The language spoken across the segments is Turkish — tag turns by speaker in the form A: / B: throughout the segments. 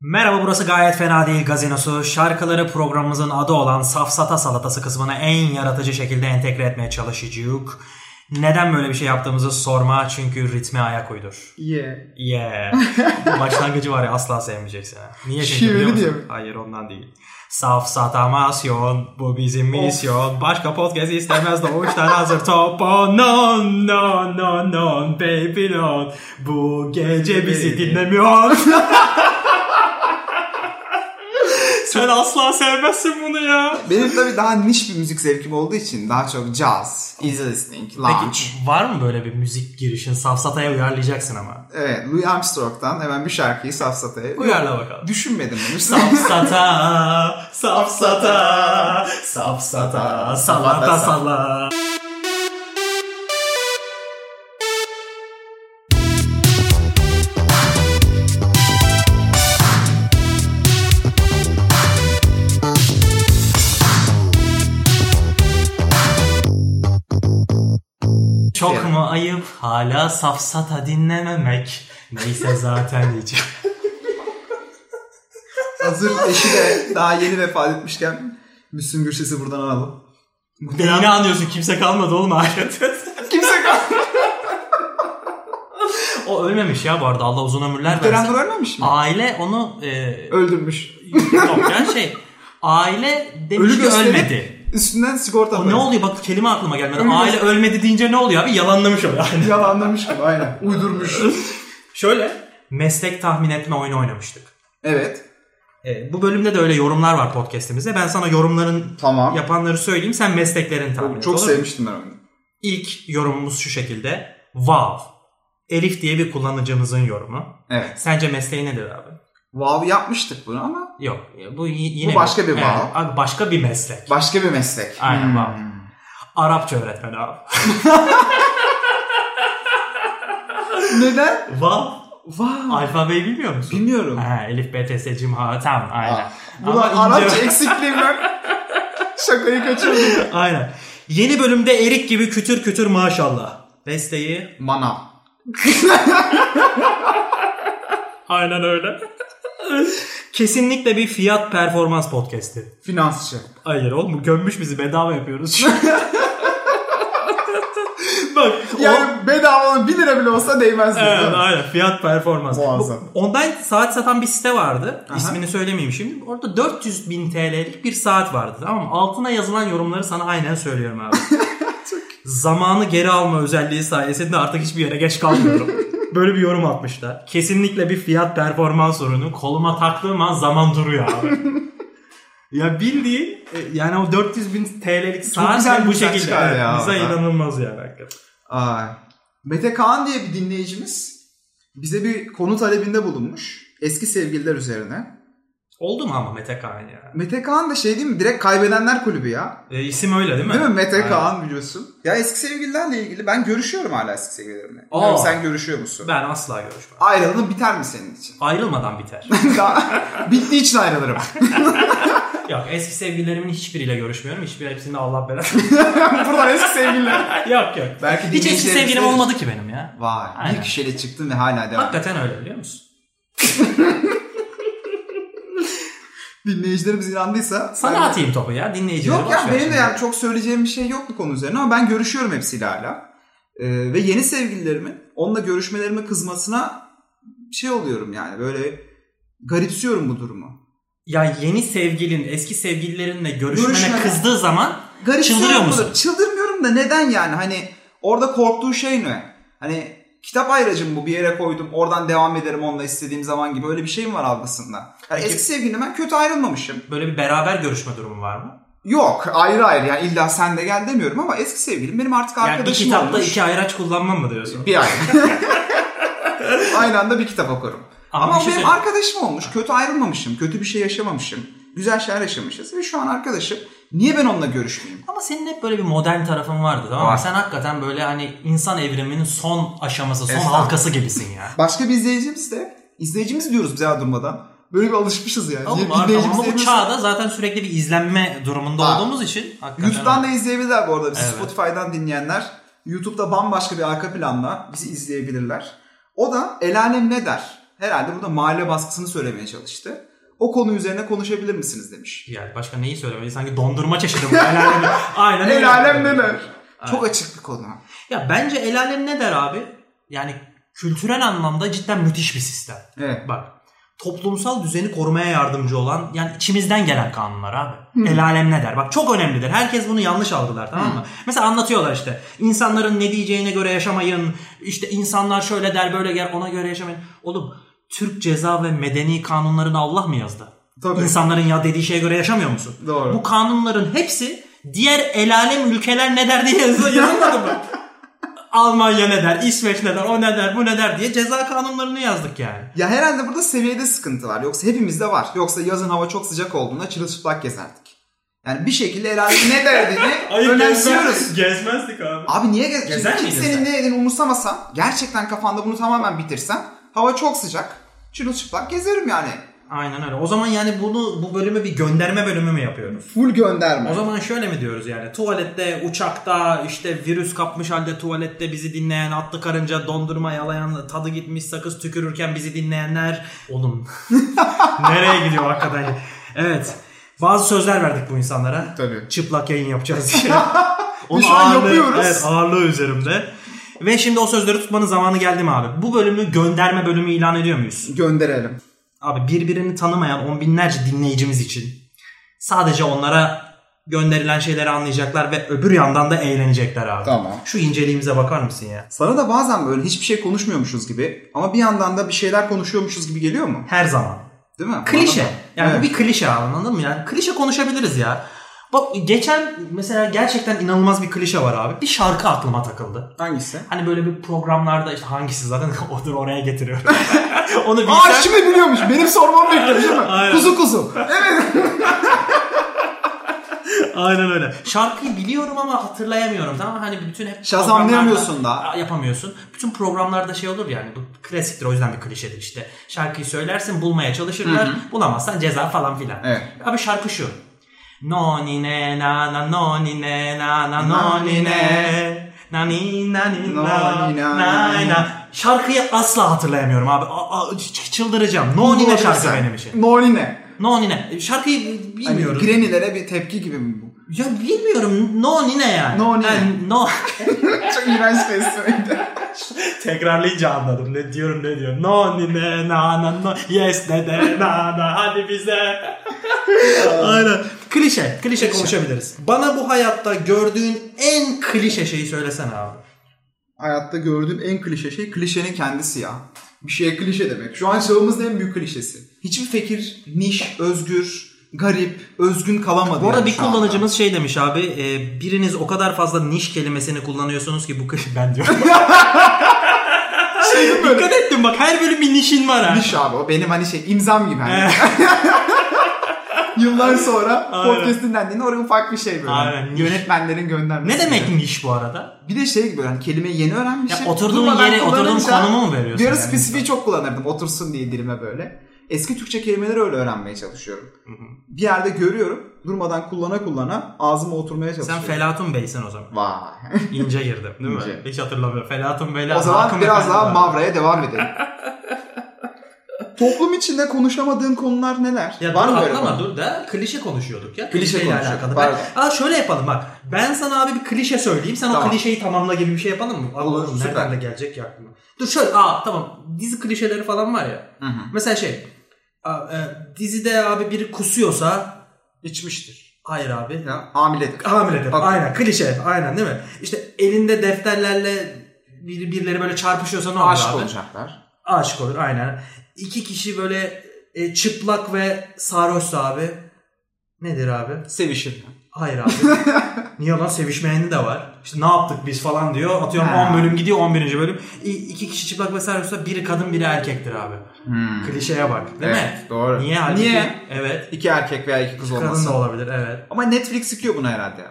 A: Merhaba burası gayet fena değil gazinosu. Şarkıları programımızın adı olan safsata salatası kısmına en yaratıcı şekilde entegre etmeye çalışacağız. Neden böyle bir şey yaptığımızı sorma çünkü ritme ayak uydur.
B: Yeah.
A: Yeah. Bu başlangıcı var ya asla sevmeyeceksin. ha. Niye çünkü
B: Şiveli
A: biliyor
B: diye
A: musun?
B: mi?
A: Hayır ondan değil. Safsatamasyon bu bizim misyon. Başka podcast istemez de o işten hazır top. Oh, no no no no baby no. Bu gece bizi dinlemiyor. Sen asla sevmezsin bunu ya.
B: Benim tabii daha niş bir müzik zevkim olduğu için daha çok jazz, easy listening, lounge.
A: Peki var mı böyle bir müzik girişin? Safsataya uyarlayacaksın ama.
B: Evet, Louis Armstrong'dan hemen bir şarkıyı safsataya.
A: Uyarla bakalım.
B: Düşünmedim bunu.
A: Safsata, safsata, safsata, salata sala. Çok mu ayıp hala safsata dinlememek? Neyse zaten diyeceğim.
B: Hazır eşi de daha yeni vefat etmişken Müslüm Gürses'i buradan alalım.
A: Neyini anlıyorsun? Kimse kalmadı oğlum ahirette.
B: Kimse kalmadı.
A: o ölmemiş ya bu arada. Allah uzun ömürler versin.
B: Törenler ölmemiş mi?
A: Aile onu e,
B: Öldürmüş.
A: yok yani şey aile demiş
B: Ölü
A: ki
B: gösterip
A: ölmedi.
B: Üstünden sigorta
A: O ne oluyor bak kelime aklıma gelmedi.
B: Ölü
A: aile ölmedi deyince ne oluyor abi? Yalanlamış o yani.
B: Yalanlamış gibi aynen. Uydurmuş.
A: Şöyle meslek tahmin etme oyunu oynamıştık.
B: evet.
A: E, bu bölümde de öyle yorumlar var podcast'imizde. Ben sana yorumların
B: Tamam.
A: yapanları söyleyeyim. Sen mesleklerini tahmin et.
B: Çok
A: olur mu?
B: sevmiştim ben onu.
A: İlk yorumumuz şu şekilde. Wow. Elif diye bir kullanıcımızın yorumu.
B: Evet.
A: Sence mesleği nedir abi?
B: Wow yapmıştık bunu ama
A: Yok. Bu y- yine
B: Bu başka bir
A: Evet,
B: bağ.
A: abi başka bir meslek.
B: başka bir meslek.
A: Aynen,
B: Hmm.
A: wow. Arapça öğretmeni abi.
B: Neden?
A: Vav.
B: Wow.
A: Alfabeyi bilmiyor musun?
B: Bilmiyorum.
A: Ha, Elif, B, T, S, Cim, H. Tamam aynen.
B: Aa, Buna
A: Ama ince-
B: Arapça eksikliğim var. Şakayı kaçırdım.
A: aynen. Yeni bölümde erik gibi kütür kütür maşallah. Mesleği.
B: Manav.
A: Aynen öyle. Kesinlikle bir fiyat performans podcast'i.
B: Finansçı.
A: Hayır oğlum bu gömmüş bizi bedava yapıyoruz şu an. Bak o-
B: Yani bedava olan 1 lira bile olsa değmezdi. değil
A: Evet
B: mi?
A: aynen fiyat performans.
B: Muazzam.
A: Bu- Ondan saat satan bir site vardı.
B: Aha.
A: İsmini söylemeyeyim şimdi. Orada 400 bin TL'lik bir saat vardı tamam mı? Altına yazılan yorumları sana aynen söylüyorum abi. Zamanı geri alma özelliği sayesinde artık hiçbir yere geç kalmıyorum. Böyle bir yorum atmışlar. Kesinlikle bir fiyat performans sorunu. Koluma taktığım an zaman duruyor abi. ya bildiğin e, yani o 400 bin TL'lik
B: güzel
A: saat
B: bir
A: bu
B: güzel
A: şekilde.
B: çıkar
A: Evet,
B: ya
A: Bize
B: orada.
A: inanılmaz yani hakikaten.
B: Ay. Mete Kaan diye bir dinleyicimiz bize bir konu talebinde bulunmuş. Eski sevgililer üzerine.
A: Oldu mu ama Mete Kağan ya?
B: Mete Kaan da şey değil mi? Direkt kaybedenler kulübü ya.
A: E, isim öyle değil mi?
B: Değil mi? Mete
A: Aynen.
B: Kaan biliyorsun. Ya eski sevgililerle ilgili ben görüşüyorum hala eski sevgililerimle.
A: Aa.
B: Bilmiyorum sen görüşüyor musun?
A: Ben asla görüşmem.
B: Ayrılığın biter mi senin için?
A: Ayrılmadan biter.
B: Daha bittiği için ayrılırım.
A: Yok eski sevgililerimin hiçbiriyle görüşmüyorum. Hiçbir hepsinde Allah belanı.
B: Buradan eski sevgililer.
A: yok yok.
B: Belki
A: Hiç eski
B: dinleyicilerimiz
A: sevgilim
B: de-
A: olmadı ki benim ya.
B: Vay.
A: Aynen.
B: Bir kişiyle çıktın ve hala devam.
A: Hakikaten öyle biliyor musun?
B: Dinleyicilerimiz inandıysa.
A: Sana
B: ben-
A: atayım topu ya dinleyicileri.
B: Yok ya
A: boş ver
B: benim de
A: şimdi.
B: yani çok söyleyeceğim bir şey yok bu konu üzerine ama ben görüşüyorum hepsiyle hala. Ee, ve yeni sevgililerimin onunla görüşmelerime kızmasına şey oluyorum yani böyle garipsiyorum bu durumu.
A: Ya yeni sevgilin eski sevgililerinle görüşmene
B: Görüşmene.
A: kızdığı zaman
B: Garipsiyorum
A: Çıldırıyor
B: bu
A: musun?
B: durum. Çıldırmıyorum da neden yani hani orada korktuğu şey ne? Hani kitap ayracım bu bir yere koydum oradan devam ederim onunla istediğim zaman gibi öyle bir şey mi var algısında? Yani
A: Peki-
B: eski sevgilimle ben kötü ayrılmamışım.
A: böyle bir beraber görüşme durumu var mı?
B: Yok ayrı ayrı yani illa sen de gel demiyorum ama eski sevgilim benim artık
A: Yani bir
B: arkadaşım
A: kitapta
B: olmuş.
A: iki ayraç kullanmam mı diyorsun?
B: Bir ay. Aynı anda bir kitap okurum.
A: Ama
B: Ama,
A: bir şey
B: benim
A: söyleyeyim.
B: arkadaşım olmuş. Kötü ayrılmamışım. Kötü bir şey yaşamamışım. Güzel şeyler yaşamışız ve şu an arkadaşım. Niye ben onunla görüşmeyeyim?
A: Ama senin hep böyle bir modern tarafın vardı tamam mı?
B: Var.
A: Sen hakikaten böyle hani insan evriminin son aşaması, son
B: Estağfurullah.
A: halkası gibisin ya.
B: Başka bir izleyicimiz de izleyicimiz diyoruz bize ya durmadan. Böyle bir alışmışız yani.
A: Oğlum
B: Yeni
A: abi,
B: dinleyicimiz
A: ama bu
B: diyemiyoruz.
A: çağda zaten sürekli bir izlenme durumunda
B: Var.
A: olduğumuz için hakikaten
B: YouTube'dan da izleyebilirler bu arada. Bizi
A: Evet.
B: Spotify'dan dinleyenler. YouTube'da bambaşka bir arka planda bizi izleyebilirler. O da el alem ne der? herhalde burada mahalle baskısını söylemeye çalıştı. O konu üzerine konuşabilir misiniz demiş.
A: Yani başka neyi söylemeli? Sanki dondurma çeşidi bu. El alem, aynen öyle.
B: El alem neler?
A: Aynen.
B: Çok açık bir konu.
A: Ya bence el alem ne der abi? Yani kültürel anlamda cidden müthiş bir sistem.
B: Evet.
A: Bak toplumsal düzeni korumaya yardımcı olan yani içimizden gelen kanunlar abi.
B: Hı.
A: El alem ne der? Bak çok önemlidir. Herkes bunu yanlış algılar tamam mı? Mesela anlatıyorlar işte insanların ne diyeceğine göre yaşamayın. İşte insanlar şöyle der böyle der ona göre yaşamayın. Oğlum Türk ceza ve medeni kanunlarını Allah mı yazdı?
B: Tabii.
A: İnsanların ya dediği şeye göre yaşamıyor musun?
B: Doğru.
A: Bu kanunların hepsi diğer el alem ülkeler ne der diye yazı- yazılmadı mı? Almanya ne der, İsveç ne der, o ne der, bu ne der diye ceza kanunlarını yazdık yani.
B: Ya herhalde burada seviyede sıkıntı var. Yoksa hepimizde var. Yoksa yazın hava çok sıcak olduğunda çırılçıplak gezerdik. Yani bir şekilde herhalde ne derdiğini önemsiyoruz.
A: Gezmezdik abi.
B: Abi niye gez
A: Gezer
B: Şimdi
A: miydin sen?
B: Kimsenin ne dediğini umursamasan, gerçekten kafanda bunu tamamen bitirsen, hava çok sıcak, çırılçıplak gezerim yani.
A: Aynen öyle. O zaman yani bunu bu bölümü bir gönderme bölümü mü yapıyoruz?
B: Full
A: O
B: gönderme.
A: zaman şöyle mi diyoruz yani tuvalette, uçakta, işte virüs kapmış halde tuvalette bizi dinleyen, atlı karınca, dondurma yalayan, tadı gitmiş sakız tükürürken bizi dinleyenler. Oğlum nereye gidiyor hakikaten? Evet. Bazı sözler verdik bu insanlara.
B: Tabii.
A: Çıplak yayın yapacağız diye.
B: Biz şu an yapıyoruz.
A: Evet ağırlığı üzerimde. Ve şimdi o sözleri tutmanın zamanı geldi mi abi? Bu bölümü gönderme bölümü ilan ediyor muyuz?
B: Gönderelim.
A: Abi birbirini tanımayan on binlerce dinleyicimiz için sadece onlara gönderilen şeyleri anlayacaklar ve öbür yandan da eğlenecekler abi.
B: Tamam.
A: Şu inceliğimize bakar mısın ya?
B: Sana da bazen böyle hiçbir şey konuşmuyormuşuz gibi ama bir yandan da bir şeyler konuşuyormuşuz gibi geliyor mu?
A: Her zaman.
B: Değil mi?
A: Klişe. Yani
B: Evet.
A: bu bir klişe abi, anladın mı? Yani klişe konuşabiliriz ya. Bak geçen mesela gerçekten inanılmaz bir klişe var abi. Bir şarkı aklıma takıldı.
B: Hangisi?
A: Hani böyle bir programlarda işte hangisi zaten odur oraya getiriyorum. Onu
B: Aa
A: bilsem
B: şimdi biliyormuş. Benim sormam bekliyor değil mi?
A: Aynen.
B: Kuzu kuzu.
A: Aynen öyle. Şarkıyı biliyorum ama hatırlayamıyorum tamam mı? Hani bütün hep
B: Şazamlayamıyorsun
A: programlarda-
B: da.
A: Aa, Yapamıyorsun. Bütün programlarda şey olur yani bu klasiktir o yüzden bir klişedir işte. Şarkıyı söylersin bulmaya çalışırlar. Bulamazsan ceza falan filan.
B: Evet.
A: Abi şarkı şu. Nonine na na nonine na na nonine nani nani na
B: Noni, na,
A: na
B: na.
A: na Şarkıyı asla hatırlayamıyorum abi. Aa, aa, ç- çıldıracağım. Nonine şarkı benim için.
B: Nonine.
A: Nonine. Şarkıyı
B: Hani
A: bilmiyorum.
B: granny'lere bir tepki gibi mi bu?
A: Ya bilmiyorum. No nine yani.
B: No nine.
A: Yani no.
B: Çok iğrenç resmiydi.
A: Tekrarlayınca anladım. Ne diyorum ne diyorum. No nine na na no. Yes ne de na na. Hadi bize. Aynen. Klişe. Klişe konuşabiliriz. Bana bu hayatta gördüğün en klişe şeyi söylesene abi.
B: Hayatta gördüğüm en klişe şey klişenin kendisi ya. Bir şeye klişe demek. Şu an çağımızın en büyük klişesi. Hiçbir fikir niş, özgür, garip, özgün kalamadı.
A: Bu arada
B: yani
A: bir
B: şu anda.
A: kullanıcımız şey demiş abi. e, biriniz o kadar fazla niş kelimesini kullanıyorsunuz ki bu kli- ben diyorum.
B: Şey böyle.
A: Dikkat ettim bak her bölüm bir nişin var ha.
B: Niş abi o benim hani şey imzam gibi hani. Yıllar sonra
A: Aynen.
B: podcast'in dendiğinde oraya ufak bir şey böyle.
A: Aynen, niş.
B: Yönetmenlerin göndermesi.
A: Ne demek niş bu arada?
B: Bir de şey gibi böyle hani kelimeyi yeni öğrenmişim.
A: Ya oturduğun
B: Durmadan
A: yere, oturduğun
B: kullanınca
A: konumu mu veriyorsun
B: Bir ara
A: yani?
B: spesifiği çok kullanırdım otursun diye dilime böyle. Eski Türkçe kelimeleri öyle öğrenmeye çalışıyorum. Bir yerde görüyorum durmadan kullana kullana ağzıma oturmaya
A: Sen
B: çalışıyorum.
A: Felatun Bey'sin o zaman.
B: Vay.
A: İnce girdim değil mi?
B: şey- İnce.
A: Hiç hatırlamıyorum. Felatun Bey'le
B: o zaman
A: Hakan
B: biraz
A: Efendi
B: daha
A: var.
B: Mavra'ya devam edelim. Toplum içinde konuşamadığın konular neler?
A: Ya
B: Var
A: dur,
B: mı böyle?
A: atlama
B: konu?
A: dur da klişe konuşuyorduk ya.
B: Klişe
A: Klişeyle
B: konuşuyorduk,
A: alakalı.
B: pardon.
A: Ben, Aa, şöyle yapalım bak. Ben sana abi bir klişe söyleyeyim. Sen
B: Tamam.
A: o klişeyi tamamla gibi bir şey yapalım mı?
B: Olur,
A: Allah'ım
B: süper.
A: nereden de gelecek ya aklıma. Dur şöyle aa tamam. Dizi klişeleri falan var ya.
B: Hı hı.
A: Mesela şey. aa, e, dizide abi biri kusuyorsa
B: İçmiştir.
A: hayır abi.
B: Ya, hamiledir.
A: Hamiledir.
B: Bak-
A: Aynen klişe. Aynen değil mi? İşte elinde defterlerle bir- birileri böyle çarpışıyorsa ne olur
B: Aşık
A: abi?
B: olacaklar.
A: Aşık olur aynen. İki kişi böyle e, çıplak ve sarhoşsa abi. Nedir abi?
B: Sevişirler.
A: Hayır abi. Niye lan sevişmeyeni de var. İşte ne yaptık biz falan diyor. Atıyorum
B: Ha.
A: 10 bölüm gidiyor 11. bölüm. İ- iki kişi çıplak ve sarhoşsa biri kadın biri erkektir abi.
B: Hmm.
A: Klişeye bak değil mi?
B: Evet, doğru.
A: Niye? Halbuki-
B: Niye?
A: Evet.
B: İki erkek veya iki kız
A: Kadın
B: olması.
A: da olabilir evet.
B: Ama Netflix yıkıyor bunu herhalde.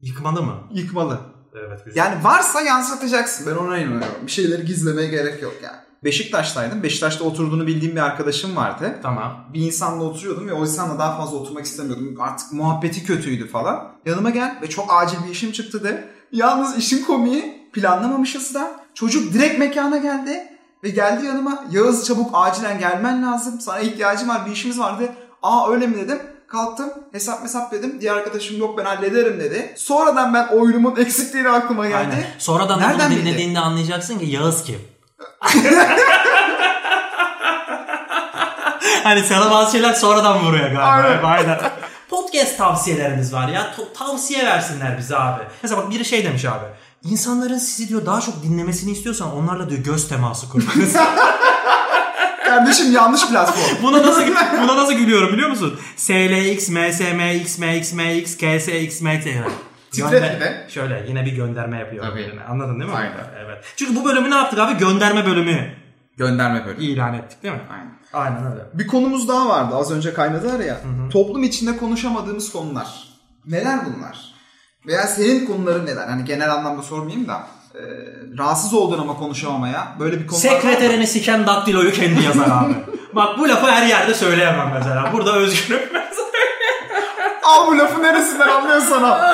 A: Yıkmalı mı?
B: Yıkmalı.
A: Evet güzel.
B: Yani varsa yansıtacaksın. Ben ona inanıyorum. Bir şeyleri gizlemeye gerek yok yani. Beşiktaş'taydım. Beşiktaş'ta oturduğunu bildiğim bir arkadaşım vardı.
A: Tamam.
B: Bir insanla oturuyordum ve o insanla daha fazla oturmak istemiyordum. Artık muhabbeti kötüydü falan. Yanıma gel ve çok acil bir işim çıktı de. Yalnız işin komiği planlamamışız da. Çocuk direkt mekana geldi. Ve geldi yanıma Yağız çabuk acilen gelmen lazım. Sana ihtiyacım var bir işimiz var dedi. Aa öyle mi dedim. Kalktım hesap hesap dedim. Diğer arkadaşım yok ben hallederim dedi. Sonradan ben oyunumun eksikliği aklıma geldi.
A: Aynen. Sonradan da
B: Nereden
A: bunu
B: bildi?
A: dinlediğinde anlayacaksın ki Yağız kim? hani sana bazı şeyler sonradan vuruyor galiba.
B: Aynen.
A: Aynen. Podcast tavsiyelerimiz var ya. To- tavsiye versinler bize abi. Mesela bak biri şey demiş abi. İnsanların sizi diyor daha çok dinlemesini istiyorsan onlarla diyor göz teması kurmanız.
B: Kardeşim yanlış platform.
A: buna nasıl buna nasıl gülüyorum biliyor musun? SLX, MSMX, MXMX, KSX, MX.
B: Titret
A: Gönder-
B: bir de.
A: Şöyle yine bir gönderme yapıyorum.
B: Tabii.
A: Yine. Anladın değil mi?
B: Aynen.
A: Evet. Çünkü bu bölümü ne yaptık abi? Gönderme bölümü
B: Gönderme böyle.
A: ilan ettik değil mi?
B: Aynen.
A: Aynen öyle.
B: Bir konumuz daha vardı az önce kaynadılar ya. Toplum içinde konuşamadığımız konular. Neler bunlar? Veya senin konuların neler? Hani genel anlamda sormayayım da. e, rahatsız oldun ama konuşamamaya. Böyle bir konu
A: Sekreterini siken daktiloyu kendi yazar abi. Bak bu lafı her yerde söyleyemem mesela. Burada özgürüm.
B: Al bu lafı neresinden anlıyorsun sana?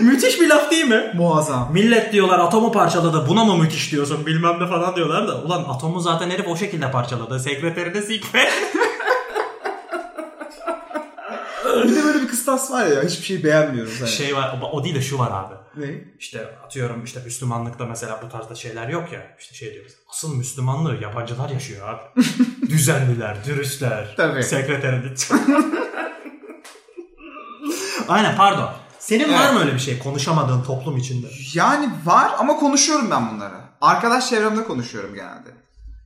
A: Müthiş bir laf değil mi?
B: Muazzam.
A: Millet diyorlar atomu parçaladı buna mı müthiş diyorsun bilmem ne falan diyorlar da ulan atomu zaten herif o şekilde parçaladı. Sekreterini sikme.
B: Bir de böyle bir kıstas var ya hiçbir şeyi beğenmiyoruz. Hani.
A: şey var o değil de şu var abi.
B: Ne?
A: İşte atıyorum işte Müslümanlıkta mesela bu tarzda şeyler yok ya. İşte şey diyoruz. Asıl Müslümanlığı yabancılar yaşıyor abi. Düzenliler, dürüstler.
B: Tabii.
A: Sekreterini. Aynen pardon. Senin var
B: Evet.
A: mı öyle bir şey konuşamadığın toplum içinde?
B: Yani var ama konuşuyorum ben bunları. Arkadaş çevremde konuşuyorum genelde.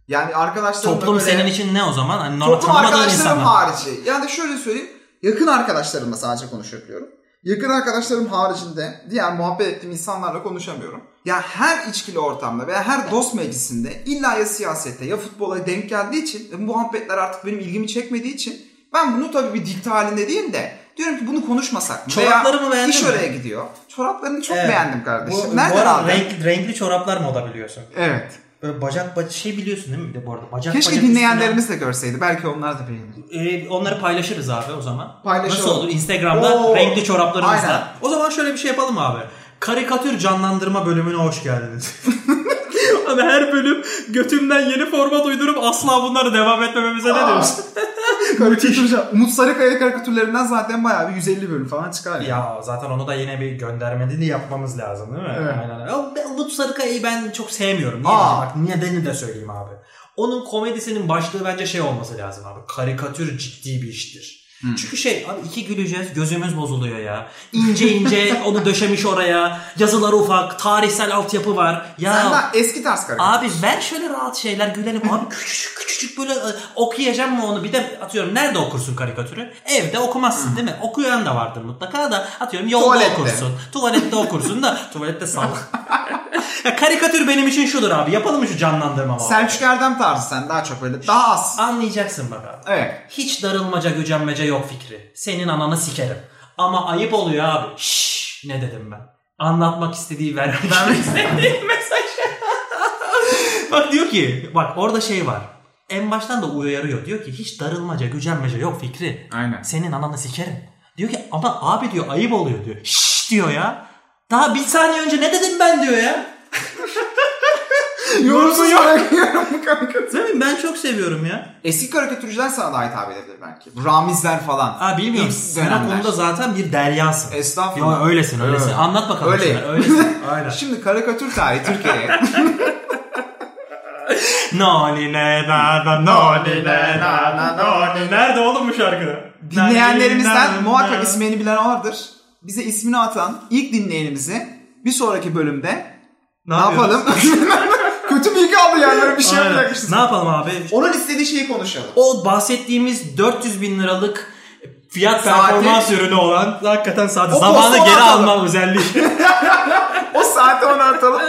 B: Yani arkadaşlarımla
A: Toplum
B: böyle...
A: senin için ne o zaman? Hani normal
B: Toplum
A: tanımadığın
B: arkadaşlarım
A: insanlar.
B: harici. Yani şöyle söyleyeyim. Yakın arkadaşlarımla sadece konuşabiliyorum. Yakın arkadaşlarım haricinde diğer muhabbet ettiğim insanlarla konuşamıyorum. Ya her içkili ortamda veya her dost meclisinde illa ya siyasete ya futbola denk geldiği için ve bu muhabbetler artık benim ilgimi çekmediği için ben bunu tabii bir dikte halinde değil de diyorum ki bunu konuşmasak mı? Veya
A: Çoraplarımı beğendin
B: iş
A: mi?
B: oraya gidiyor. Çoraplarını çok
A: Evet.
B: beğendim kardeşim. Nereden
A: arada
B: aldın?
A: renkli, renkli çoraplar moda biliyorsun.
B: Evet.
A: Böyle bacak bacak şey biliyorsun değil mi? Bir de bu arada bacak
B: Keşke
A: bacak
B: dinleyenlerimiz de görseydi. Belki onlar da beğenir.
A: üstüne- Ee, onları paylaşırız abi o zaman.
B: Paylaşalım.
A: Nasıl olur? Instagram'da
B: Oo.
A: renkli çoraplarımızla.
B: Aynen.
A: O zaman şöyle bir şey yapalım abi. Karikatür canlandırma bölümüne hoş geldiniz. Hani her bölüm götümden yeni format uydurup asla bunları devam etmememize ne diyorsun?
B: Karikatür, Umut Sarıkaya karikatürlerinden zaten bayağı bir 150 bölüm falan çıkar ya.
A: Ya zaten onu da yine bir göndermeli yapmamız lazım değil mi?
B: Evet.
A: Aynen. Ya ben Umut Sarıkaya'yı ben çok sevmiyorum. Niye?
B: Aa.
A: Bak nedeni de söyleyeyim abi. Onun komedisinin başlığı bence şey olması lazım abi. Karikatür ciddi bir iştir. Çünkü şey abi iki güleceğiz gözümüz bozuluyor ya. İnce ince onu döşemiş oraya. Yazıları ufak. Tarihsel altyapı var. Ya
B: Sen daha eski tarz karikatür.
A: Abi ver şöyle rahat şeyler gülelim. Abi küçücük küçücük böyle e, okuyacağım mı onu? Bir de atıyorum nerede okursun karikatürü? Evde okumazsın değil mi? Okuyan da vardır mutlaka da atıyorum yolda
B: Tuvalette.
A: okursun. Tuvalette okursun da tuvalette sal. ya karikatür benim için şudur abi. Yapalım mı şu canlandırma var?
B: Selçuk Erdem tarzı sen daha çok böyle daha az.
A: Anlayacaksın bak abi.
B: Evet.
A: Hiç darılmaca gücenmece yok fikri. Senin ananı sikerim. Ama ayıp oluyor abi. Şşş ne dedim ben? Anlatmak istediği ver. Vermek istediği mesaj. bak diyor ki bak orada şey var. En baştan da uyarıyor. Diyor ki hiç darılmaca gücenmece yok fikri.
B: Aynen.
A: Senin ananı sikerim. Diyor ki ama abi diyor ayıp oluyor diyor. Şşş diyor ya. Daha bir saniye önce ne dedim ben diyor ya.
B: Yorumsuz bırakıyorum bu karikatür.
A: Değil mi? Ben çok seviyorum ya.
B: Eski karikatürcüler sana daha hitap edebilir belki. Bu Ramizler falan.
A: Aa bilmiyorum.
B: İlk
A: Sen o
B: dönemler.
A: konuda zaten bir deryasın.
B: Estağfurullah.
A: Ya öylesin öylesin.
B: Evet.
A: Anlat bakalım.
B: Öyle.
A: şunları, Öylesin. Aynen.
B: Şimdi karikatür tarihi Türkiye'ye.
A: Noni ne na na noni ne na na noni. Nerede oğlum bu şarkı?
B: Dinleyenlerimizden muhakkak ismini bilen vardır. Bize ismini atan ilk dinleyenimizi bir sonraki bölümde ne, yapalım? Kötü bilgi aldı yani böyle bir şey
A: Aynen.
B: yapacakmışız.
A: Ne yapalım abi?
B: Onun istediği şeyi konuşalım.
A: O bahsettiğimiz 400 bin liralık fiyat
B: Saati-
A: performans ürünü olan hakikaten saati
B: O
A: zamanı
B: konsolu
A: geri
B: atalım.
A: alma özelliği.
B: O saate onu atalım.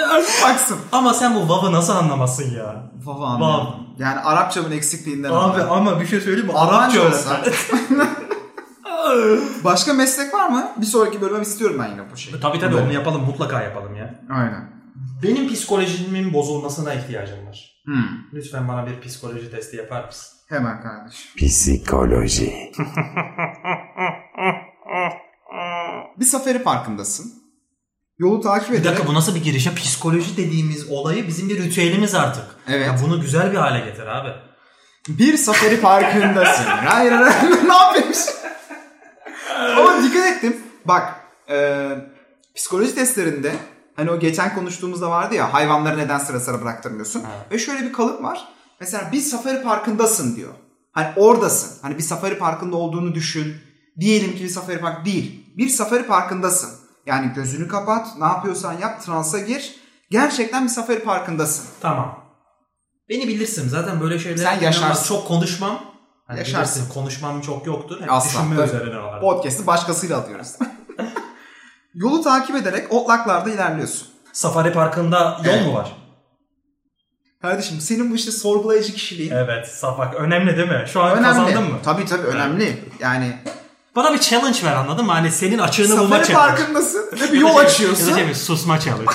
B: Baksın.
A: ama sen bu vav'ı nasıl anlamazsın ya?
B: Babam.
A: Vav.
B: Yani Arapçamın eksikliğinden.
A: Abi
B: oldu.
A: ama bir şey söyleyeyim mi?
B: Almanca
A: Arapça
B: olsa.
A: öğretmen.
B: Başka meslek var mı? Bir sonraki bölümüm istiyorum ben yine bu şeyi.
A: Tabii tabii
B: Böyle.
A: onu yapalım mutlaka yapalım ya.
B: Aynen.
A: Benim psikolojimin bozulmasına ihtiyacım var.
B: Hmm.
A: Lütfen bana bir psikoloji testi yapar mısın?
B: Hemen kardeşim.
C: Psikoloji.
B: Bir safari parkındasın. Yolu takip
A: Bir
B: ederek
A: dakika bu nasıl bir giriş ya? Psikoloji dediğimiz olayı bizim bir ritüelimiz artık.
B: Evet.
A: Ya bunu güzel bir hale getir abi.
B: bir safari parkındasın. Hayır hayır ne yapıyormuş? Ama dikkat ettim. Bak e, psikoloji testlerinde hani o geçen konuştuğumuzda vardı ya hayvanları neden sıra sıra bıraktırmıyorsun.
A: Evet.
B: Ve şöyle bir kalıp var. Mesela bir safari parkındasın diyor. Hani oradasın. Hani bir safari parkında olduğunu düşün. Diyelim ki bir safari park değil. Bir safari parkındasın. Yani gözünü kapat, ne yapıyorsan yap, transa gir. Gerçekten bir safari parkındasın.
A: Tamam. Beni bilirsin zaten böyle şeyler.
B: Sen yaşarsın.
A: Çok konuşmam. Hani
B: Yaşarsın.
A: bilirsin, konuşmam çok yoktur. Hep
B: Asla.
A: düşünme
B: Tabii.
A: üzerine var.
B: Podcast'ı başkasıyla atıyoruz. Yolu takip ederek otlaklarda ilerliyorsun.
A: Safari Parkı'nda yol
B: Evet.
A: mu var?
B: Kardeşim senin bu işte sorgulayıcı kişiliğin
A: Evet. Safak. Önemli değil mi? Şu an
B: önemli.
A: kazandın mı?
B: Tabii tabii önemli. Yani
A: Bana bir challenge ver anladın mı? Hani senin açığını bulma
B: safari
A: challenge.
B: parkındasın ve
A: Ya
B: bir yol
A: da şey- Ya da
B: açıyorsun.
A: şey bir susma challenge.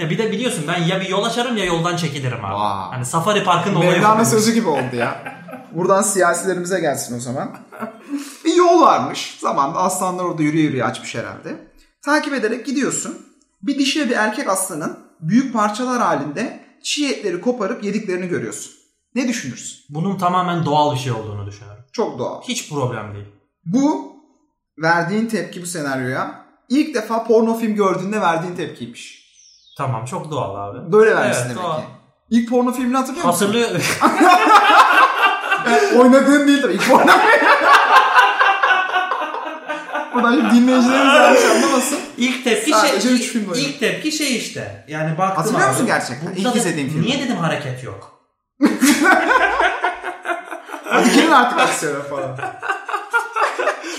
A: ya bir de biliyorsun ben ya bir yol açarım ya yoldan çekilirim abi.
B: Vay.
A: Hani Safari Park'ın olayı.
B: Mevlana
A: bu.
B: sözü gibi oldu ya. Buradan siyasilerimize gelsin o zaman. Bir yol varmış. Zamanında aslanlar orada yürüye yürüye açmış herhalde. Takip ederek gidiyorsun. Bir dişi ve bir erkek aslanın büyük parçalar halinde çiğ etleri koparıp yediklerini görüyorsun. Ne düşünürsün?
A: Bunun tamamen doğal bir şey olduğunu düşünüyorum.
B: Çok doğal.
A: Hiç problem değil.
B: Bu verdiğin tepki bu senaryoya ilk defa porno film gördüğünde verdiğin tepkiymiş.
A: Tamam çok doğal abi.
B: Böyle vermişsin
A: Evet,
B: demek
A: doğal.
B: ki. İlk porno filmini hatırlıyor musun?
A: Hatırlıyor.
B: Oynadığın değil tabii. İlk porno filmi. Buradan şimdi dinleyicilerimiz yanlış anlamasın.
A: İlk tepki
B: Sadece
A: şey,
B: üç film oynadım.
A: ilk tepki şey işte. Yani baktım
B: Hatırlıyor
A: abi,
B: musun gerçekten?
A: bunda
B: İlk
A: da-
B: izlediğin filmi.
A: Niye dedim hareket yok?
B: Hadi girin artık aksiyona falan.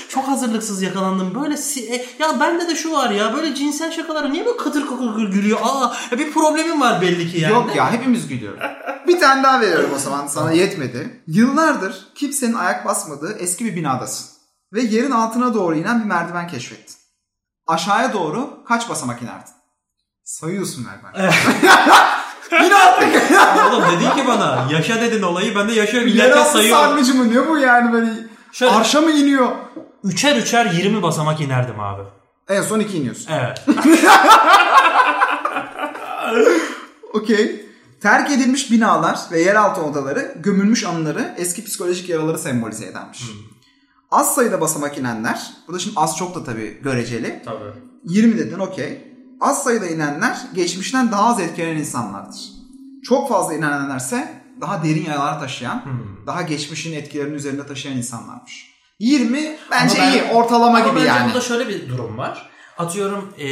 A: Çok hazırlıksız yakalandım. Böyle si- e, ya bende de şu var ya. Böyle cinsel şakalara niye böyle katır kukur gülüyor? Aa ya bir problemim var belli ki yani.
B: Yok ya hepimiz gülüyoruz. Bir tane daha veriyorum o zaman. Sana yetmedi. Yıllardır kimsenin ayak basmadığı eski bir binadasın. Ve yerin altına doğru inen bir merdiven keşfettin. Aşağıya doğru kaç basamak inerdin? Sayıyorsun merdiven. Yine attık.
A: Oğlum dedin ki bana yaşa dedin olayı ben de yaşıyorum. İlerken
B: Yeraltı
A: sayıyorum.
B: sarnıcı mı? Ne bu yani böyle?
A: Şöyle-
B: Arşa mı iniyor?
A: Üçer üçer 20 basamak inerdim abi.
B: En son iki iniyorsun.
A: Evet.
B: Okey. Terk edilmiş binalar ve yeraltı odaları gömülmüş anıları eski psikolojik yaraları sembolize edermiş.
A: Hmm.
B: Az sayıda basamak inenler, bu da şimdi az çok da tabii göreceli.
A: Tabii.
B: 20 dedin okey. Az sayıda inenler geçmişten daha az etkilenen insanlardır. Çok fazla inenlerse daha derin yaralar taşıyan,
A: Hmm.
B: daha geçmişin etkilerini üzerinde taşıyan insanlarmış. 20 bence
A: Ama ben-
B: iyi, ortalama
A: Ama
B: gibi
A: bence
B: yani.
A: burada şöyle bir durum var. Atıyorum e,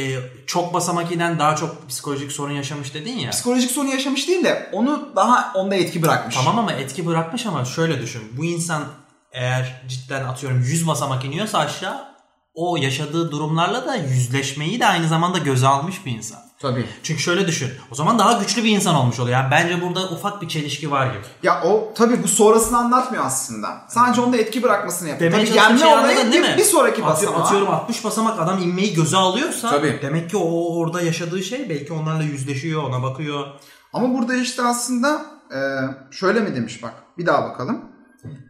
A: çok basamak inen daha çok psikolojik sorun yaşamış dedin ya.
B: Psikolojik sorun yaşamış değil de onu daha onda etki bırakmış.
A: Tamam ama etki bırakmış ama şöyle düşün. Bu insan eğer cidden atıyorum 100 basamak iniyorsa aşağı o yaşadığı durumlarla da yüzleşmeyi de aynı zamanda göze almış bir insan.
B: Tabii.
A: Çünkü şöyle düşün. O zaman daha güçlü bir insan olmuş oluyor. Yani bence burada ufak bir çelişki var gibi.
B: Ya o tabii bu sonrasını anlatmıyor aslında. Sadece onda etki bırakmasını yapıyor.
A: Demeye
B: tabii
A: çalıştığım
B: gelme
A: şey
B: olayı
A: anladın
B: bir,
A: değil mi?
B: bir sonraki
A: Atı-
B: basamağa.
A: Atıyorum 60 basamak adam inmeyi göze alıyorsa
B: Tabii.
A: demek ki o orada yaşadığı şey belki onlarla yüzleşiyor, ona bakıyor.
B: Ama burada işte aslında e, şöyle mi demiş bak bir daha bakalım.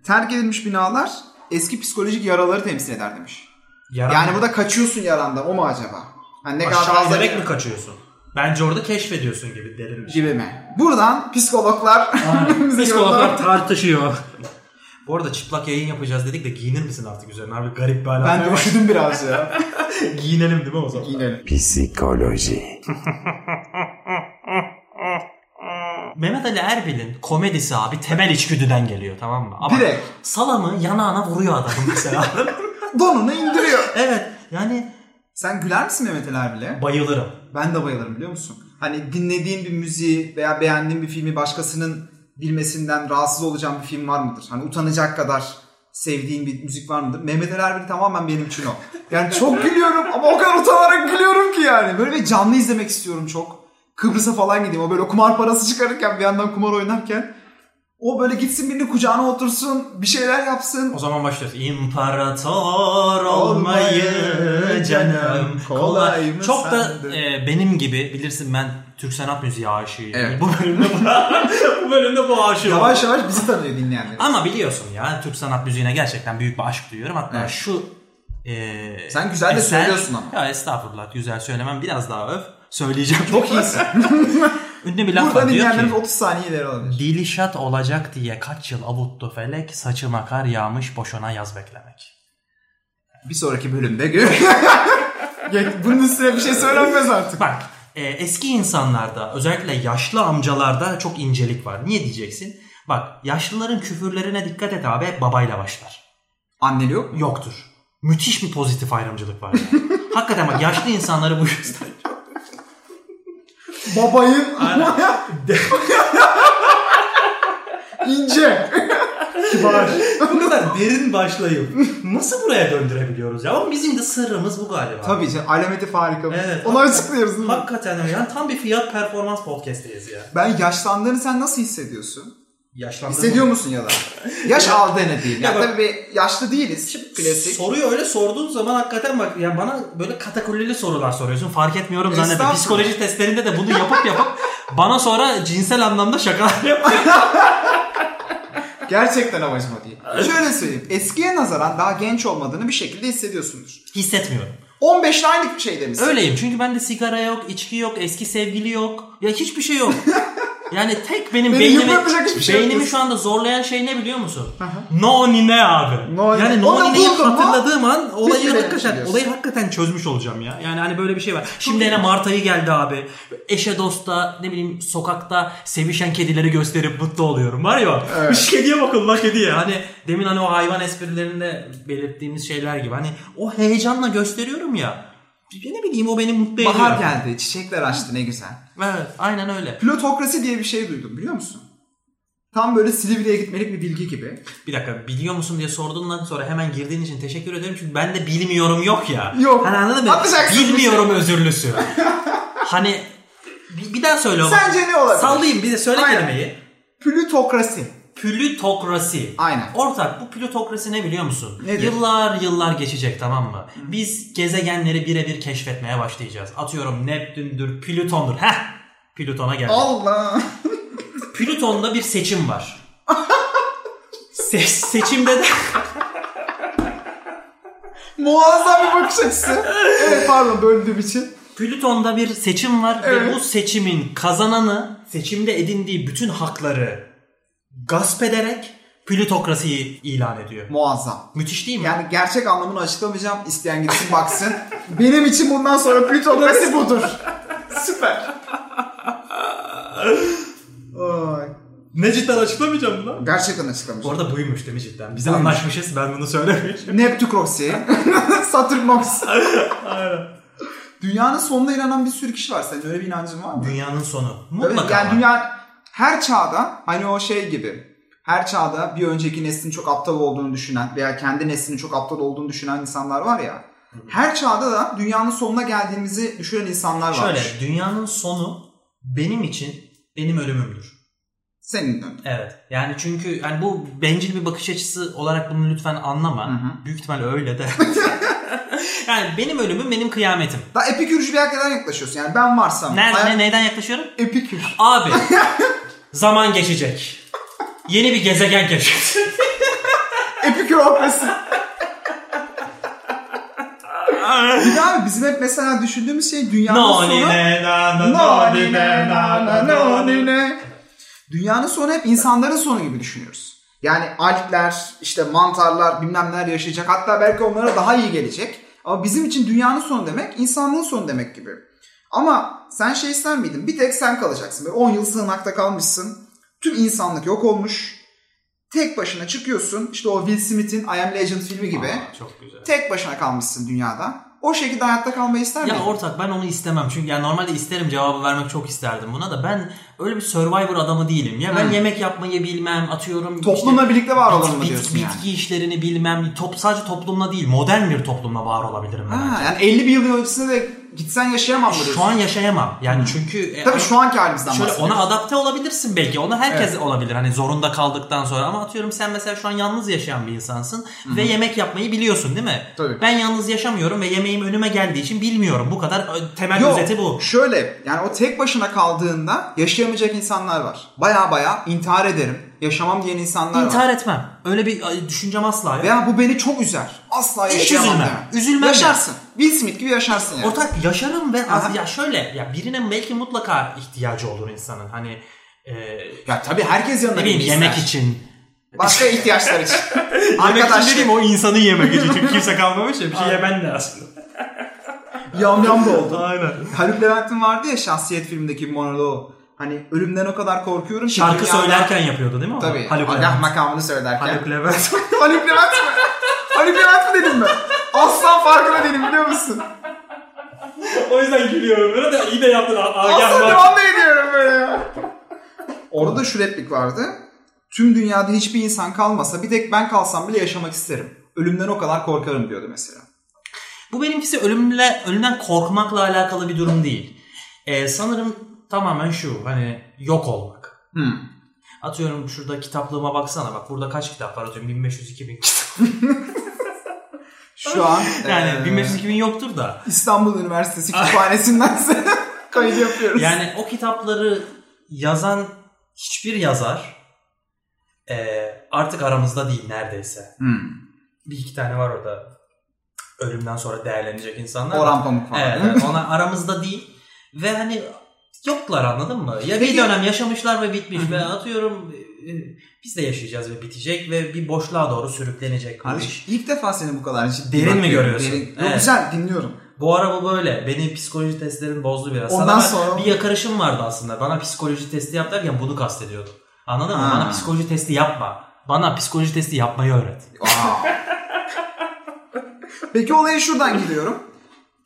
B: Terk edilmiş binalar eski psikolojik yaraları temsil eder demiş.
A: Yaran
B: Yani burada kaçıyorsun yarandan o mu acaba? Hani ne kadar
A: aşağı
B: fazla
A: inerek mi kaçıyorsun? Bence orada keşfediyorsun gibi derin bir şey.
B: gibi mi? Buradan psikologlar bize
A: Psikologlar
B: yorumlar-
A: tartışıyor. Bu arada çıplak yayın yapacağız dedik de giyinir misin artık üzerine? Abi garip bir
B: Ben de
A: alaka.
B: üşüdüm biraz ya.
A: Giyinelim değil mi o zaman?
B: Giyinelim.
C: Psikoloji.
A: Mehmet Ali Erbil'in komedisi abi temel içgüdüden geliyor tamam mı? Ama
B: Direkt.
A: Salamı yanağına vuruyor adamın mesela.
B: Donunu indiriyor.
A: evet yani
B: Sen güler misin Mehmet Ali Erbil'e?
A: bayılırım.
B: Ben de bayılırım biliyor musun? Hani dinlediğin bir müziği veya beğendiğin bir filmi başkasının bilmesinden rahatsız olacağın bir film var mıdır? Hani utanacak kadar sevdiğin bir müzik var mıdır? Mehmet Ali Erbil tamamen benim için o. Yani çok gülüyorum ama o kadar utanarak gülüyorum ki yani. Böyle bir canlı izlemek istiyorum çok. Kıbrıs'a falan gideyim. O böyle kumar parası çıkarırken bir yandan kumar oynarken. O böyle gitsin birini kucağına otursun. Bir şeyler yapsın.
A: O zaman başlıyoruz. İmparator olmayı canım kolay.
B: Kolay mı
A: Çok da
B: sandın?
A: e, benim gibi bilirsin ben Türk sanat müziği aşığıyım.
B: Evet.
A: Bu bölümde bu, bu bölümde bu aşığım.
B: Yavaş yavaş bizi tanıyor dinleyenler.
A: Ama biliyorsun ya Türk sanat müziğine gerçekten büyük bir aşk duyuyorum. Hatta
B: Evet.
A: şu e, Ee,
B: Sen güzel de söylüyorsun ama.
A: Ya estağfurullah güzel söylemem biraz daha öf. Söyleyeceğim.
B: Çok iyisin.
A: Ünlü bir laf
B: Burada
A: var diyor
B: dinleyenlerimiz
A: ki.
B: 30 saniye ileri olabilir.
A: Dilişat olacak diye kaç yıl avuttu felek saçıma kar yağmış boşuna yaz beklemek.
B: Bir sonraki bölümde gör. Ge- Bunun üstüne bir şey söylenmez artık.
A: Bak e, eski insanlarda özellikle yaşlı amcalarda çok incelik var. Niye diyeceksin? Bak yaşlıların küfürlerine dikkat et abi hep babayla başlar.
B: Anneli yok mu?
A: Yoktur. Müthiş bir pozitif ayrımcılık var yani. Hakikaten bak yaşlı insanları bu yüzden.
B: Babayı ince. Kibar.
A: bu kadar derin başlayıp nasıl buraya döndürebiliyoruz ya? Ama bizim de sırrımız bu galiba.
B: Tabii canım alameti farika.
A: Evet.
B: Onu açıklıyoruz değil mi?
A: Hakikaten öyle. Yani tam bir fiyat performans podcast'iyiz ya.
B: Ben yaşlandığını sen nasıl hissediyorsun?
A: Yaşlandığım
B: Hissediyor musun ya da? Yaş aldığını değil. Ya
A: Ya bak-
B: tabii bir yaşlı değiliz. Klasik.
A: Soruyu öyle sorduğun zaman hakikaten bak ya bana böyle katakulleli sorular soruyorsun. Fark etmiyorum zannediyorum.
B: Estağfurullah.
A: Psikoloji testlerinde de bunu yapıp yapıp bana sonra cinsel anlamda şakalar yapıyor.
B: Gerçekten amacım o değil. Şöyle söyleyeyim. Eskiye nazaran daha genç olmadığını bir şekilde hissediyorsundur.
A: Hissetmiyorum.
B: 15 ile aynı bir şey demişsin.
A: Öyleyim çünkü bende sigara yok, içki yok, eski sevgili yok. Ya hiçbir şey yok. Yani tek benim
B: Beni
A: beynimi,
B: yıpratacak hiçbir şey yok
A: beynimi
B: diyorsun.
A: şu anda zorlayan şey ne biliyor musun? no nine abi.
B: No nine.
A: yani
B: Onu
A: no nine'yi
B: buldum ha.
A: hatırladığım an olayı
B: kere
A: hakikaten,
B: yapıyorsun.
A: olayı Şey, hakikaten çözmüş olacağım ya. Yani hani böyle bir şey var. Şimdi yine Mart ayı geldi abi. Eşe dosta ne bileyim sokakta sevişen kedileri gösterip mutlu oluyorum. Var ya
B: Evet.
A: "Üş, kediye bakın la kediye. Hani demin hani o hayvan esprilerinde belirttiğimiz şeyler gibi. Hani o heyecanla gösteriyorum ya. Ne bileyim o beni mutlu ediyor.
B: Bahar geldi. Çiçekler açtı ne güzel.
A: Evet aynen öyle.
B: Plutokrasi diye bir şey duydum biliyor musun? Tam böyle Silivri'ye gitmelik bir bilgi gibi.
A: Bir dakika biliyor musun diye sorduğundan sonra hemen girdiğin için teşekkür ederim. Çünkü ben de bilmiyorum yok ya.
B: Yok.
A: Hani anladın mı?
B: Atacaksın
A: Bilmiyorum özürlüsü. hani bir, bir daha söyle onu.
B: Sence ne olabilir?
A: Sallayayım bir de söyle
B: Aynen.
A: kelimeyi.
B: Plutokrasi.
A: Plütokrasi.
B: Aynen.
A: Ortak bu plütokrasi ne biliyor musun?
B: Nedir?
A: Yıllar yıllar geçecek tamam mı? Biz gezegenleri birebir keşfetmeye başlayacağız. Atıyorum Neptün'dür, Plüton'dur. Heh! Plüton'a geldik.
B: Allah.
A: Plüton'da bir seçim var. Se- seçimde de
B: Muazzam bir bakış açısı. Evet pardon böldüğüm için.
A: Plüton'da bir seçim var
B: Evet.
A: ve bu seçimin kazananı seçimde edindiği bütün hakları gasp ederek plütokrasiyi ilan ediyor.
B: Muazzam.
A: Müthiş değil mi?
B: Yani gerçek anlamını açıklamayacağım. İsteyen gitsin baksın. Benim için bundan sonra plutokrasi budur. Süper. Ay.
A: Ne cidden açıklamayacağım lan.
B: Gerçekten
A: Bu
B: açıklamayacağım.
A: arada buymuş değil mi cidden? Biz
B: Buymuş.
A: anlaşmışız ben bunu söylemeyeceğim.
B: Neptükrokси. Satürnox. Dünyanın sonuna inanan bir sürü kişi var. Senin öyle bir inancın var mı?
A: Dünyanın sonu.
B: Tabii,
A: Mutlaka
B: yani
A: var.
B: dünya her çağda hani o şey gibi her çağda bir önceki neslin çok aptal olduğunu düşünen veya kendi neslinin çok aptal olduğunu düşünen insanlar var ya. Her çağda da dünyanın sonuna geldiğimizi düşünen insanlar var.
A: Şöyle dünyanın sonu benim için benim ölümümdür.
B: Senin dön.
A: Evet. Yani çünkü yani bu bencil bir bakış açısı olarak bunu lütfen anlama.
B: Hı hı.
A: Büyük ihtimal öyle de. yani benim ölümüm benim kıyametim.
B: Daha epikürcü bir hakikaten yaklaşıyorsun. Yani ben varsam.
A: Nerede,
B: hayat-
A: ne, neyden yaklaşıyorum?
B: Epikür.
A: Abi zaman geçecek. Yeni bir gezegen keşfet.
B: Epikürokrasi. Bir de abi bizim hep mesela düşündüğümüz şey dünyanın
A: no
B: sonu.
A: nine na na no nine na na no nine.
B: Nonine. Dünyanın sonu hep insanların sonu gibi düşünüyoruz. Yani algler, işte mantarlar, bilmem neler yaşayacak. Hatta belki onlara daha iyi gelecek. Ama bizim için dünyanın sonu demek insanlığın sonu demek gibi. Ama sen şey ister miydin? Bir tek sen kalacaksın. Böyle 10 yıl sığınakta kalmışsın. Tüm insanlık yok olmuş. Tek başına çıkıyorsun. İşte o Will Smith'in I Am Legend filmi gibi.
A: Aa, Çok güzel.
B: Tek başına kalmışsın dünyada. O şekilde hayatta kalmayı ister miydin?
A: Ya ortak ben onu istemem. Çünkü yani normalde isterim cevabı vermek çok isterdim buna da ben öyle bir survivor adamı değilim. Ya ben
B: Hı.
A: yemek yapmayı bilmem, atıyorum
B: Toplumla birlikte Hmm. var
A: Bit-
B: olalım mı
A: bit-
B: diyorsun
A: bitki
B: yani?
A: işlerini bilmem, top, sadece toplumla değil modern bir toplumla var olabilirim ben.
B: Ha, yani 50 bir yıl öncesine de gitsen yaşayamam mı
A: Şu
B: diyorsun?
A: an yaşayamam. Yani çünkü e,
B: Hmm. Tabii şu anki halimizden
A: şöyle
B: bahsediyoruz.
A: ona adapte olabilirsin belki. Ona herkes olabilir. Hani zorunda kaldıktan sonra ama atıyorum sen mesela şu an yalnız yaşayan bir insansın ve yemek yapmayı biliyorsun değil mi?
B: Tabii.
A: Ben yalnız yaşamıyorum ve yemeğim önüme geldiği için bilmiyorum. Bu kadar ö, temel
B: Yok,
A: özeti bu.
B: Şöyle yani o tek başına kaldığında yaşayamayacak insanlar var. Baya baya intihar ederim. yaşamam diyen insanlar var.
A: İntihar etmem. Öyle bir ay, düşüncem asla yok.
B: Veya bu beni çok üzer. Asla
A: Hiç
B: yaşayamam
A: üzülmem.
B: demem.
A: Üzülmem de.
B: Yaşarsın. Will Smith gibi yaşarsın yani.
A: Ortak yaşarım ve az,
B: Aha.
A: ya şöyle ya birine belki mutlaka ihtiyacı olur insanın. Hani e,
B: Ya tabii herkes yanına
A: ne bileyim
B: birini
A: yemek
B: ister.
A: için.
B: Başka ihtiyaçlar için.
A: Yemek için
B: Arkadaşlık.
A: dediğim o insanı yemek için. Çünkü kimse kalmamış ya bir şey yemen lazım.
B: Yam yam da oldu.
A: Aynen.
B: Haluk Levent'in vardı ya şahsiyet filmindeki monoloğu. Hani ölümden o kadar korkuyorum ki.
A: Şarkı
B: dünyada-
A: söylerken yapıyordu değil mi? onu?
B: Tabii.
A: Haluk
B: Allah
A: Levent.
B: makamını söylerken.
A: Haluk Levent.
B: Haluk Levent mi? Haluk Levent mi dedim ben? Aslan farkında değilim biliyor musun?
A: o yüzden gülüyorum. Böyle de iyi de yaptın. Agah
B: Aslan
A: bak.
B: devam da ediyorum böyle ya. Orada da şu replik vardı. Tüm dünyada hiçbir insan kalmasa bir tek ben kalsam bile yaşamak isterim. Ölümden o kadar korkarım diyordu mesela.
A: Bu benimkisi ölümle ölümden korkmakla alakalı bir durum değil. Ee, sanırım tamamen şu hani yok olmak.
B: Hmm.
A: Atıyorum şurada kitaplığıma baksana bak burada kaç kitap var atıyorum 1500-2000 kitap.
B: Şu an
A: Yani
B: eee,
A: 1500-2000 yoktur da.
B: İstanbul Üniversitesi kütüphanesinden size kaydı yapıyoruz.
A: Yani o kitapları yazan hiçbir yazar eee, artık aramızda değil neredeyse.
B: Hmm.
A: Bir iki tane var orada ölümden sonra değerlenecek insanlar. da.
B: Orhan Pamuk falan.
A: Evet,
B: değil mi?
A: evet ona aramızda değil ve hani yoklar anladın mı? Ya
B: Peki-
A: bir dönem yaşamışlar ve bitmiş
B: Hı
A: ve atıyorum e, biz de yaşayacağız ve bitecek ve bir boşluğa doğru sürüklenecek bu iş.
B: Kardeş ilk defa seni bu kadar ciddi
A: Derin mi
B: bakıyorum.
A: görüyorsun?
B: Derin. Yok,
A: Evet.
B: Güzel dinliyorum.
A: Bu araba böyle. Beni psikoloji testlerim bozdu biraz.
B: Ondan
A: Sana ben-
B: sonra-
A: bir yakarışım vardı aslında. Bana psikoloji testi yap derken bunu kastediyordu. Anladın mı?
B: Ha.
A: Bana psikoloji testi yapma. Bana psikoloji testi yapmayı öğret.
B: Aa. Peki olaya şuradan gidiyorum.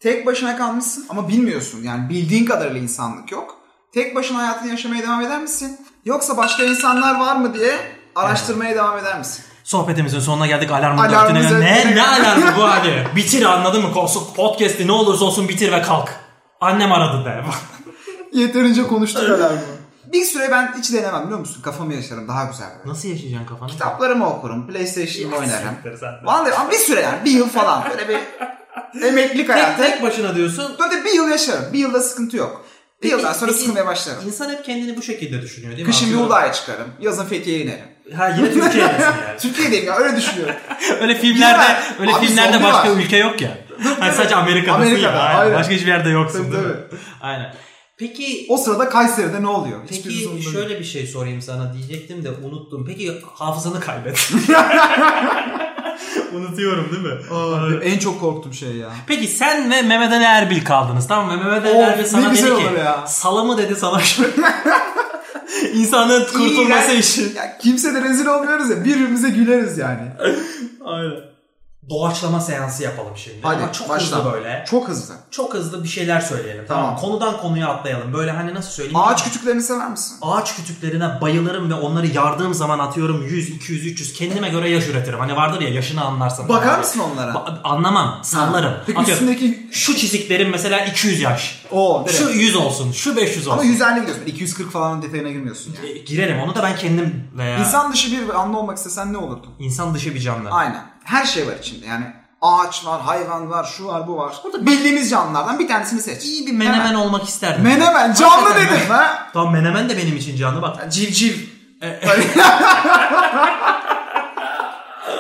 B: Tek başına kalmışsın ama bilmiyorsun. Yani bildiğin kadarıyla insanlık yok. Tek başına hayatını yaşamaya devam eder misin? Yoksa başka insanlar var mı diye araştırmaya devam eder misin?
A: Sohbetimizin sonuna geldik. Alarmın
B: Alarmı
A: dörtüne.
B: zaten-
A: Ne, ne alarmı bu hadi? bitir anladın mı? Korsu- Podcast'i ne olursa olsun bitir ve kalk. Annem aradı de.
B: Yeterince konuştuk herhalde. Bir süre ben hiç denemem biliyor musun? Kafamı yaşarım daha güzel. böyle.
A: Nasıl yaşayacaksın kafanı?
B: Kitaplarımı okurum, PlayStation'ımı oynarım.
A: Siktir sen de.
B: Vallahi ama bir süre yani bir yıl falan böyle bir emeklilik
A: Tek,
B: hayatı.
A: tek başına diyorsun.
B: Böyle bir yıl yaşarım. Bir yılda sıkıntı yok. Bir yıldan sonra
A: Peki-
B: sıkılmaya başlarım.
A: İnsan hep kendini bu şekilde düşünüyor değil mi?
B: Kışın
A: Atıyorum-
B: Uludağ'a çıkarım. Yazın Fethiye'ye inerim.
A: Ha yine Türkiye'desin yani.
B: Türkiye'deyim ya öyle düşünüyorum.
A: Öyle filmlerde
B: Var.
A: öyle
B: Abi
A: filmlerde
B: zombi
A: başka
B: var.
A: ülke yok ya. Hani sadece Amerika'dasın
B: Amerika'da,
A: ya. Aynen.
B: aynen.
A: Başka hiçbir yerde yoksun
B: Tabii,
A: değil mi?
B: tabii.
A: Aynen. Peki
B: O sırada Kayseri'de ne oluyor? Hiçbirimiz
A: peki
B: onu bilmiyoruz.
A: şöyle bir şey sorayım sana diyecektim de unuttum. Peki hafızanı kaybet. Unutuyorum değil mi?
B: Aa, en çok korktum şey ya.
A: Peki sen ve Mehmet Ali Erbil kaldınız tamam mı? Mehmet Ali
B: Of,
A: Erbil sana
B: ne güzel
A: dedi ki
B: olur ya.
A: salamı dedi salak. İnsanın kurtulması
B: İğrenç.
A: için.
B: Ya kimse de rezil olmuyoruz ya. Birbirimize güleriz yani.
A: Aynen. Doğaçlama seansı yapalım şimdi.
B: Hadi,
A: Ama çok
B: başla.
A: hızlı böyle.
B: Çok hızlı.
A: Çok hızlı bir şeyler söyleyelim. Tamam.
B: Tamam.
A: mı? Konudan konuya atlayalım. Böyle hani nasıl söyleyeyim?
B: Ağaç kütüklerini sever misin?
A: Ağaç kütüklerine bayılırım ve onları yardığım zaman atıyorum 100, 200, 300 kendime göre yaş üretirim. Hani vardır ya yaşını anlarsın.
B: Bakar
A: Hani.
B: mısın onlara?
A: Ba- anlamam. Sallarım.
B: Peki
A: Atıyorum,
B: üstündeki...
A: Şu çiziklerim mesela 200 yaş.
B: Oo, direkt.
A: Şu 100 olsun. Şu 500 olsun.
B: Ama 150 gidiyorsun. 240 falan detayına girmiyorsun
A: E,
B: yani.
A: Girerim onu da ben kendim veya insan,
B: İnsan dışı bir anlı olmak istesen ne olurdun?
A: dışı bir canlı.
B: Aynen. Her şey var içinde yani. Ağaç var, hayvan var, şu var, bu var. Burada bildiğimiz canlılardan bir tanesini seç.
A: İyi bir menemen
B: Hemen.
A: olmak isterdim.
B: Menemen canlı
A: Hakikaten
B: dedim ha.
A: Tamam menemen de benim için canlı bak.
B: Civciv.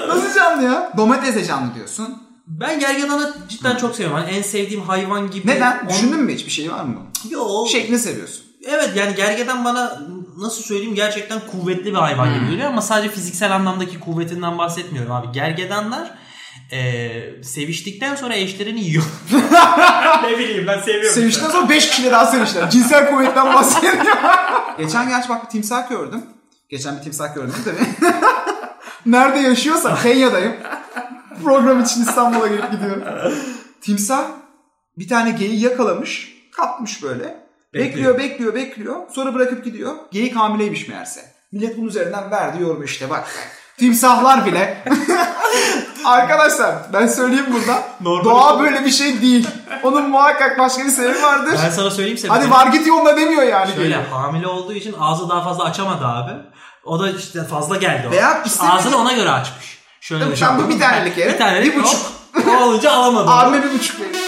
B: Nasıl canlı ya? Domates de canlı diyorsun.
A: Ben gergedanı cidden çok seviyorum. Hani en sevdiğim hayvan gibi.
B: Neden?
A: On-
B: Düşündün mü hiç bir şey var mı?
A: Yo.
B: Şeklini seviyorsun.
A: Evet yani gergedan bana nasıl söyleyeyim gerçekten kuvvetli bir hayvan
B: Hmm.
A: gibi geliyor ama sadece fiziksel anlamdaki kuvvetinden bahsetmiyorum abi. Gergedanlar e, seviştikten sonra eşlerini yiyor. ne bileyim ben seviyorum.
B: Sevişten sonra 5 kişiyle daha sevişler. Cinsel kuvvetten bahsediyor. Geçen gerçi bak bir timsah gördüm. Geçen bir timsah gördüm tabii. Nerede yaşıyorsa Kenya'dayım. Program için İstanbul'a gelip gidiyorum. Timsah bir tane geyi yakalamış. Kapmış böyle.
A: Bekliyor.
B: Bekliyor, bekliyor, bekliyor. Sonra bırakıp gidiyor. Geyik hamileymiş meğerse. Millet bunun üzerinden verdi yorumu işte bak. Timsahlar bile. Arkadaşlar ben söyleyeyim burada.
A: Normal-
B: Doğa böyle bir şey değil. Onun muhakkak başka bir sebebi vardır.
A: Ben sana söyleyeyim sebebini.
B: Hadi var git yoluna demiyor yani.
A: Şöyle hamile olduğu için ağzı daha fazla açamadı abi. O da işte fazla geldi. o.
B: Veya istemiyor.
A: Ağzını ona göre açmış. Şöyle
B: Tabii
A: şey
B: sen bu
A: yaptı.
B: bir tanelik yere,
A: Bir tanelik.
B: bir buçuk.
A: hop. O olunca alamadım.
B: Abime bir buçuk veriyor.